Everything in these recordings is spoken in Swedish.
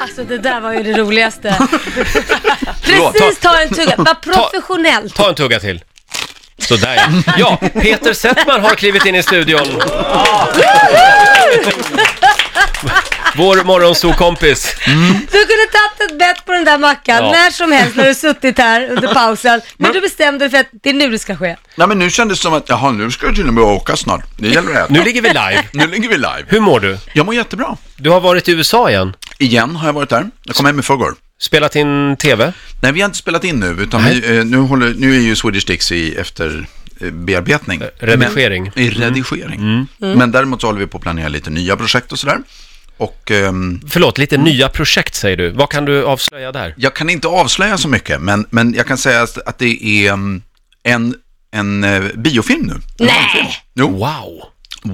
Alltså det där var ju det roligaste. Förlåt, Precis ta en tugga, var professionell. Ta en tugga till. Sådär ja. Ja, Peter Settman har klivit in i studion. Vår morgonsokompis. Du kunde tagit ett bett på den där mackan Ja. när som helst när du suttit här under pausen. Men du bestämde dig för att det är nu det ska ske. Nej men nu kändes det som att, jaha nu ska jag till och med åka snart. Det gäller det. Nu ligger vi live. nu ligger vi live. Hur mår du? Jag mår jättebra. Du har varit i USA igen. Igen har jag varit där. Jag kom hem i förrgår. Spelat in TV. Nej vi har inte spelat in nu, utan vi, eh, nu, håller, nu är ju Swedish Dixie efter eh, Mm. bearbetning. redigering. Men, I redigering. Men däremot så håller vi på att planera lite nya projekt och sådär. Och ehm, Förlåt, lite nya projekt säger du. Vad kan du avslöja där? jag kan inte avslöja så mycket, men, men jag kan säga att- att det är mm, en, en eh, biofilm nu. Nej, Jo, Wow!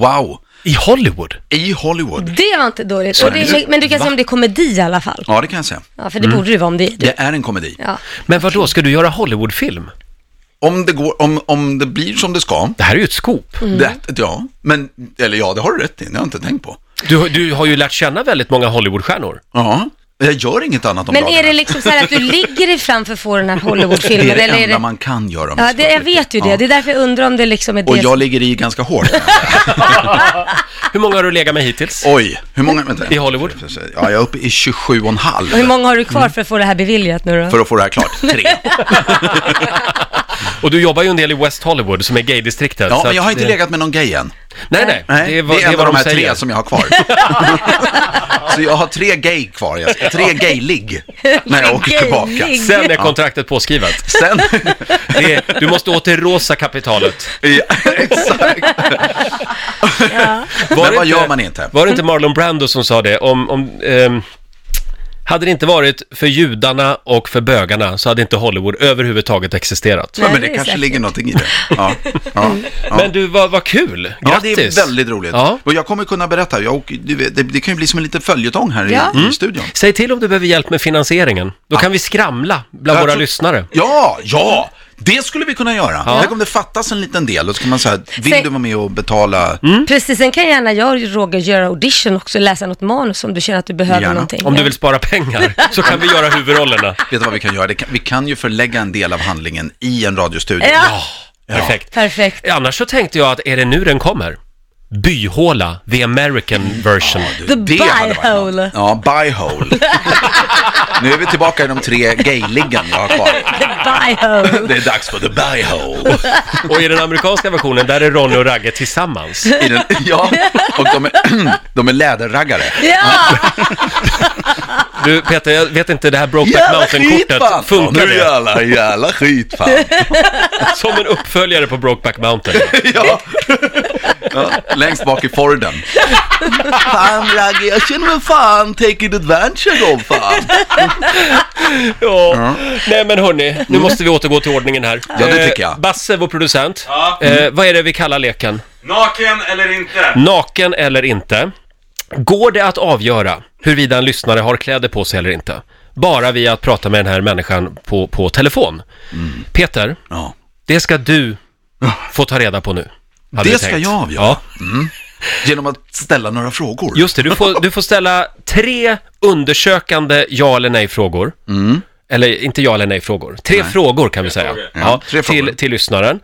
wow. I Hollywood? I Hollywood. det var inte dåligt. Och det, men du kan säga om det är komedi i alla fall. Ja, det kan jag säga. Ja, för det borde det vara om det är du. Det är en komedi. Ja. Men vad då ska du göra Hollywoodfilm? Om det, går, om, om det blir som det ska, Det här är ju ett skop. Mm. det, ja, men, eller ja, det har du rätt i, det har jag inte tänkt på. Du, du har ju lärt känna väldigt många Hollywoodstjärnor. Ja, jag gör inget annat om Men dagarna. är det liksom så här att du ligger dig framför får den här det är Hollywoodfilmen? det eller enda är det... man kan göra. om Ja, jag det, ska jag vara riktig. vet ju det. Ja. Det är därför jag undrar om det liksom är det. Och som- jag ligger i ganska hårt. Hur många har du legat med hittills? Oj, hur många, vänta. I Hollywood? Ja, jag är uppe i 27 och en halv Och hur många har du kvar för att få det här beviljat nu då? Mm. för att få det här klart. Tre. Och du jobbar ju en del i West Hollywood som är gaydistriktet. Ja, så men jag har att inte det- legat med någon gay än. Nej, nej. Nej, det är vad, det är en av vad de de här säger. tre som jag har kvar. Så jag har tre gay kvar, jag, tre gay-ligg när jag åker tillbaka. Gay-ligg. Sen är kontraktet påskrivet. Sen, Det är, du måste åter rosa kapitalet. ja, exakt. Var Men det vad gör man inte? Var det inte Marlon Brando som sa det? Om, om, ehm, hade det inte varit för judarna och för bögarna så hade inte Hollywood överhuvudtaget existerat. Ja, Nej, men det det är kanske säkert. Mm. ligger någonting i det. Ja, ja, ja. Men du, vad, vad kul! Ja, Grattis! det är väldigt roligt. Ja. Och jag kommer kunna berätta, jag, åker- du vet, det, det kan ju bli som en liten följetong här Ja. i, i studion. Säg till om du behöver hjälp med finansieringen. Då kan vi skramla bland Jag våra tror- lyssnare. Ja, ja! Det skulle vi kunna göra. Ja. Tänk om det fattas en liten del och så kan man säga, vill Säg- du vara med och betala? Precis, sen kan gärna jag, Roger, göra audition också, läsa något manus om du känner att du behöver Gärna. någonting. Om du vill spara pengar så kan vi göra huvudrollerna. Vet du vad vi kan göra? Det kan, vi kan ju förlägga en del av handlingen i en radiostudio. Ja, Perfekt. perfekt. Annars så tänkte jag att är det nu den kommer? Byhåla, the American version. Du, The det hade varit något. bi-hole. Ja, bi-hole. nu är vi tillbaka i de tre gay-liggen jag har kvar. Bye Det är dags för the bi-hole. Och i den amerikanska versionen, där är Ronny och Ragge tillsammans. I den, ja, och de är, de är läderraggare. Ja, Du Peter, jag vet inte, det här Brokeback Jävla skit fan! Mountain-kortet, funkar Nu det? jävla, jävla skit fan. Som en uppföljare på Brokeback Mountain. ja. ja. Längst bak i Forden. Fan Ragge, jag känner mig fan taking adventure of fan. Ja. Nej men hörni, nu måste vi återgå till ordningen här. Mm. Ja, det Eh, tycker jag. Basse, vår producent. Ja. Eh, vad är det vi kallar leken? Naken eller inte? Naken eller inte? Går det att avgöra huruvida en lyssnare har kläder på sig eller inte? Bara via att prata med den här människan på, på telefon. Mm. Peter, Ja. det ska du få ta reda på nu. hade Det vi ska tänkt. jag avgöra. Ja. Genom att ställa några frågor. Just det, du får, du får ställa tre undersökande ja eller nej-frågor. Mm. Eller inte ja eller nej-frågor. Tre frågor kan vi säga. frågor. Ja, tre frågor. till, till lyssnaren.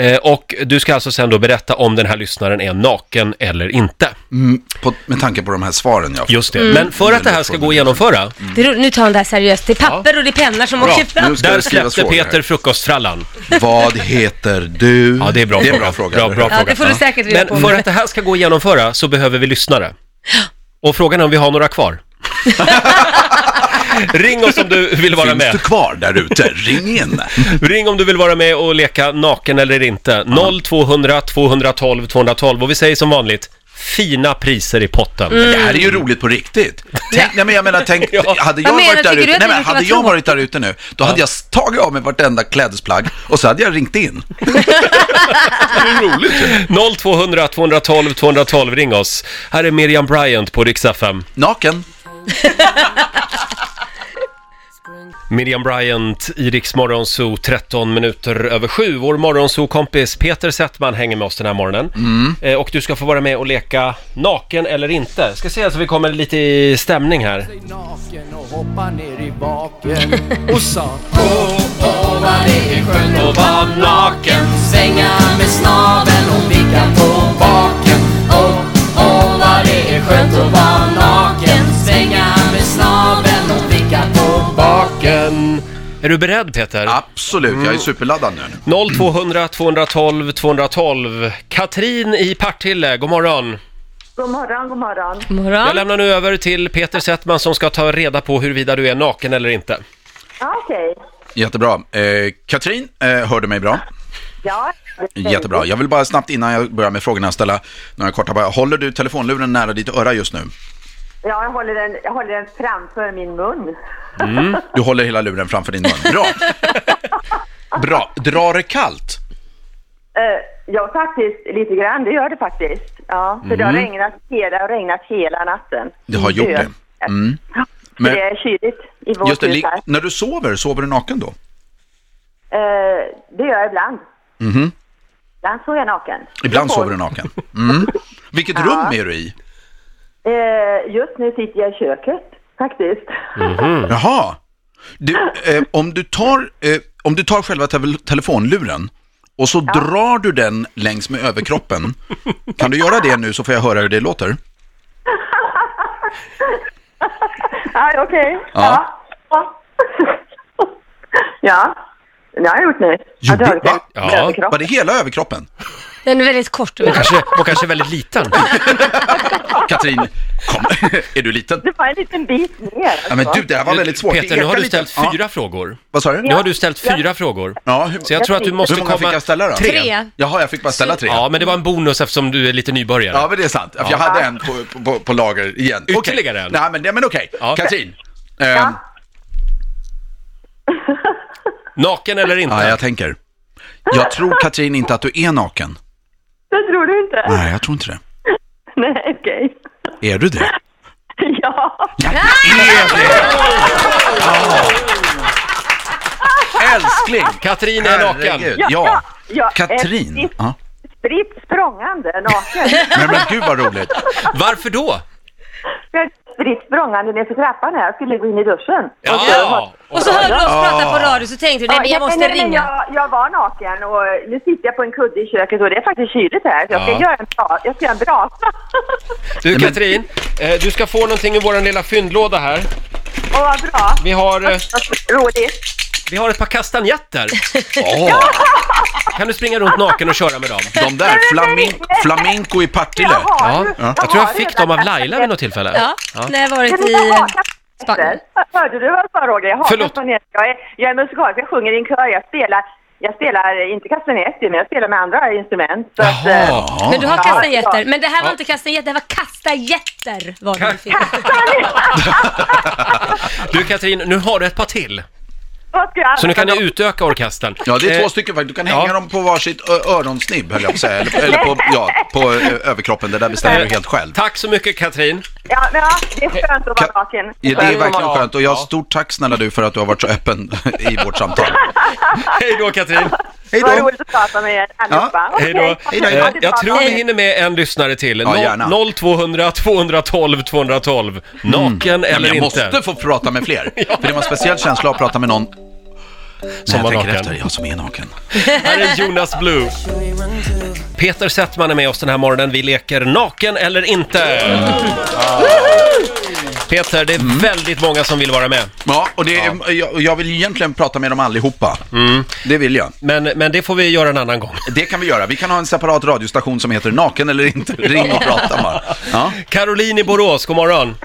Eh, och du ska alltså sen då berätta om den här lyssnaren är naken eller inte. Mm, på, med tanke på de här svaren jag Just det. Men för Mm. att det här ska gå att genomföra, det är roligt. nu tar hon det här seriöst. Det är papper och det är pennor som åker fram. nu ska där det skrivas släppte frågor här. Peter frukostfrallan. Vad heter du? Ja, det är bra det är en fråga. bra fråga. Bra, bra Ja, det får du Ja. säkert reda på. Men för att det här ska gå att genomföra så behöver vi lyssnare. Och frågan är om vi har några kvar. Ring oss om du vill vara Finns med. du kvar där ute? Ring in. Ring om du vill vara med och leka naken eller inte. 0200 212 212 och vi säger som vanligt, fina priser i potten. Det här är ju roligt på riktigt. Tänk, nej, men jag menar, tänk, Ja. hade jag Mm. Vad menar du? varit där Tycker du ute, att nej, det men brukar hade vara jag varit där ute nu, då hade jag tagit av mig vartenda klädesplagg och så hade jag ringt in. 0200 212 212, ring oss. Här är Miriam Bryant på Rix FM. Naken. Miriam Bryant i Rix Morgonzoo, 13 minuter över sju. Vår morgonzoo-kompis Peter Settman hänger med oss den här morgonen. Mm. Eh, Och du ska få vara med och leka naken eller inte. Ska se så vi kommer lite i stämning här. sig naken och hoppa ner i baken och sa Gå ovan i sjön och var naken Svänga med snaveln och vicka på baken Och åh vad det är skönt att vara naken Svänga med snaveln och vicka på Baken. Är du beredd Peter? Absolut, Mm. jag är superladdad nu. 0200 212 212. Katrin i Partille, god morgon. God morgon, god morgon. God Jag morgon. lämnar nu över till Peter Settman som ska ta reda på huruvida du är naken eller inte. Ja, okej. Jättebra. Eh, Katrin, eh, hörde mig bra? Ja, det är Jättebra. Jag vill bara snabbt innan jag börjar med frågorna ställa några korta. bara, Håller du telefonluren nära ditt öra just nu? Ja, jag håller, den, jag håller den framför min mun. Du håller hela luren framför din mun. Bra. Bra. Drar det kallt? Eh, ja, faktiskt lite grann. Det gör det faktiskt. Ja, för det har regnat hela, och regnat hela natten. Mm. Det har gjort det. Mm. Men, Men- det är kyligt i vårt Just det, hus li- här. när du sover, sover du naken då? Eh, det gör jag ibland. Ibland sover jag naken. Mhm. Ibland Då får- sover du naken. Mm. Vilket rum är du i? Eh, just nu sitter jag i köket, faktiskt. Mm. Jaha. Du, eh, om, du tar, eh, om du tar själva te- telefonluren och så drar du den längs med överkroppen. Kan du göra det nu så får jag höra hur det låter? Ja, okej. Ja. Ja. ja. Det har jag gjort nu. Jo, Att jag har va? gjort det. Ja, Med överkropp. Var det hela överkroppen? Den är väldigt kort. men- Kanske, och kanske väldigt liten. Katrin, kom. är du liten? Det var en liten bit ner. alltså. Ja, men du, det här var väldigt svårt. Peter, nu har Eka du lite. ställt Ja. fyra frågor. Vad sa du? Nu har du ställt fyra frågor. Ja, hur, Så jag tror att du måste hur många komma... fick jag ställa då? Tre. Tre. Jaha, jag fick bara ställa tre. Ja, men det var en bonus eftersom du är lite nybörjare. Ja, men det är sant. För Jag hade en på, på, på lager igen. Okej. Ytterligare en. Nej, men, nej, men okej. Ja. Katrin. ehm, Naken eller inte? ja, jag tänker. Jag tror, Katrin, inte att du är naken. Det tror du inte? Nej, jag tror inte det. Nej, okej. Är du det? Ja. Är det? Ja. Älskling! Katrin är naken. Herregud. Ja. ja. Katrin. Ett Ja. Spritt språngande naken. Men, men gud vad roligt. Varför då? Jag är Spritt språngande ner för trappan här. Jag skulle gå in i duschen. Ja! Och så hörde du oss prata på radio så tänkte du, nej men jag måste men ringa. Jag, jag var naken och nu sitter jag på en kudde i köket och det är faktiskt kyligt här. Så jag ska Ja. göra en bra, jag ska göra en brasa. Du Katrin, eh, du ska få någonting i våran lilla fyndlåda här. Åh, vad bra. Vi har, eh, Vad roligt. vi har ett par kastanjetter. Åh, Kan du springa runt naken och köra med dem? de där, flamin flaminco i Partille. Jag har Ja. ju- Jag tror har jag fick redan dem av kastat Laila vid något tillfälle. Ja, när jag varit Kan du i... inte haka Spanien. efter? Hörde du vad jag sa Roger? Jag har Förlåt. kastanjetter. Jag är, jag är musikalisk, jag sjunger i en kör. Jag spelar, jag spelar inte kastanjetter, men jag spelar med andra instrument. Så att, eh, Jaha. Ja. Men du har kastanjetter. Men det här var Ja. inte kastanjetter, det här var kastajetter var det vi fick. Du Katrin, nu har du ett par till. vad ska jag Så nu kan ni använda utöka orkestern. Ja, det är Eh, två stycken faktiskt. Du kan hänga ja. dem på varsitt ö- öronsnibb, höll jag på att säga. Eller, eller på, ja, på ö- överkroppen. Det där bestämmer du helt själv. Eh, Tack så mycket Katrin. dem? Ja, men, ja, det är skönt att vara Ka- naken. Ja, det är verkligen Ja. skönt. Och jag stort tack snälla du för att du har varit så öppen i vårt samtal. Hej då Katrin. Hej Vad då! roligt att prata med er allihopa. Hej då. Okej, Hej då, hej Eh, då. ha det Jag bra. tror vi hinner med en lyssnare till. Ja, gärna. 0- 0200 212 212. Naken eller Mm. Jag inte? måste få prata med fler. För det var en speciell känsla att prata med någon som var jag tänker naken. efter, jag som är naken. Här är Jonas Blue. Peter Settman är med oss den här morgonen. Vi leker naken eller inte. Ah. Peter, det är Mm. väldigt många som vill vara med. Ja, och det, är- Jag, jag vill egentligen prata med dem allihopa. Mm. Det vill jag. Men, men det får vi göra en annan gång. Det kan vi göra. Vi kan ha en separat radiostation som heter Naken eller inte. Ring och prata bara. Ja. Caroline i Borås, god morgon.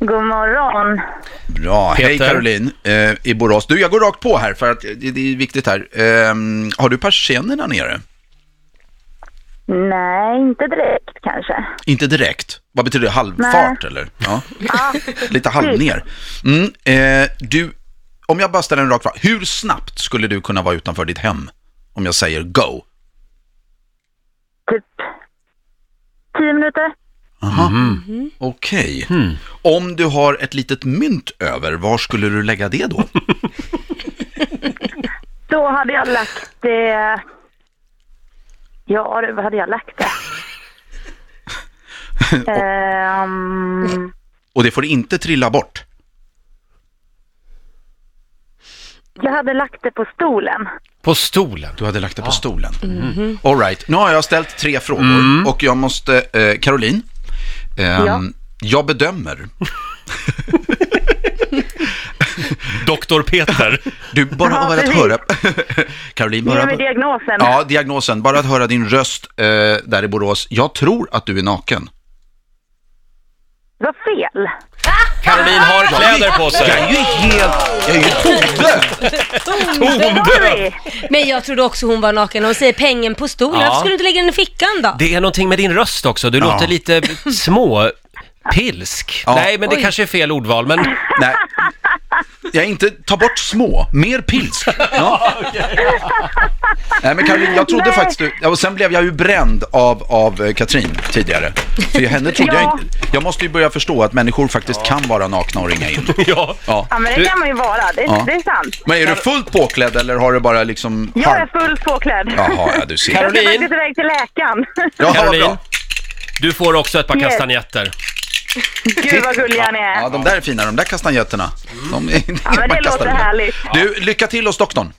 God morgon. Bra, hej Peter. Caroline eh, i Borås. Du, jag går rakt på här för att det, det är viktigt här. Ehm, har du persiennerna nere? Nej, inte direkt kanske. Inte direkt. Vad betyder det? Halvfart eller? Ja. Lite halv ner. Mm, eh, du, om jag bara ställer en rak fråga. Hur snabbt skulle du kunna vara utanför ditt hem? Om jag säger go. Typ tio minuter. Okej. Om du har ett litet mynt över, var skulle du lägga det då? Då hade jag lagt det... Ja, du, vad hade jag lagt det? Ehm, Och det får inte trilla bort. jag hade lagt det på stolen. På stolen. Du hade lagt det på stolen. Mhm. All right. Nu har jag ställt tre frågor och jag måste... Eh, Caroline, ehm, Ja. jag bedömer. Doktor Peter. Du, bara Ja, av att precis. höra... Caroline, Ge bara... mig diagnosen. Ja, diagnosen. Bara att höra din röst eh, där i Borås. Jag tror att du är naken. Det var fel. Caroline har kläder på Jag är sig. ju helt... Jag är ju tondöv! Tondöv. Sorry. Men jag trodde också hon var naken. Hon säger pengen på stolen. Ja. Varför skulle du inte lägga den i fickan då? Det är någonting med din röst också. Du Ja. låter lite små... Pilsk? Ja. Nej, men det Oj. kanske är fel ordval, men Nej. Jag är inte, ta bort små, mer pilsk. Ja. Nej men Caroline, jag trodde Nej. faktiskt du, ja, och sen blev jag ju bränd av, av eh, Katrin tidigare. För henne trodde Ja. jag inte, jag måste ju börja förstå att människor faktiskt kan vara nakna och ringa in. ja. Ja. Ja, men Du- det kan man ju vara. Det, Ja. det är sant. Men är du fullt påklädd eller har du bara liksom... Jag är fullt påklädd. Jaha, ja, du ser. Jag ska Caroline? faktiskt iväg till läkaren. Ja, Caroline, bra. du får också ett par Yes. kastanjetter. Gud vad gulliga ni Ja, är. de där är fina, de där kastanjetterna. De är, Mm. Ja, men det låter härligt. Du, lycka till hos doktorn.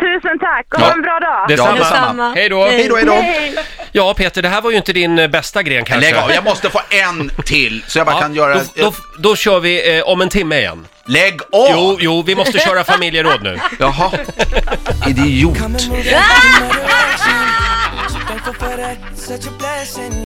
Tusen tack och Ja. ha en bra dag. Detsamma. Ja, detsamma. Hej då. Hej då, hej då. Hej. Ja, Peter, det här var ju inte din eh, bästa gren kanske. Lägg av, jag måste få en till så jag bara Ja, kan göra... då, då, då kör vi eh, om en timme igen. Lägg av! Jo, jo, vi måste köra familjeråd nu. Jaha, idiot. thankful for that. Such a blessing.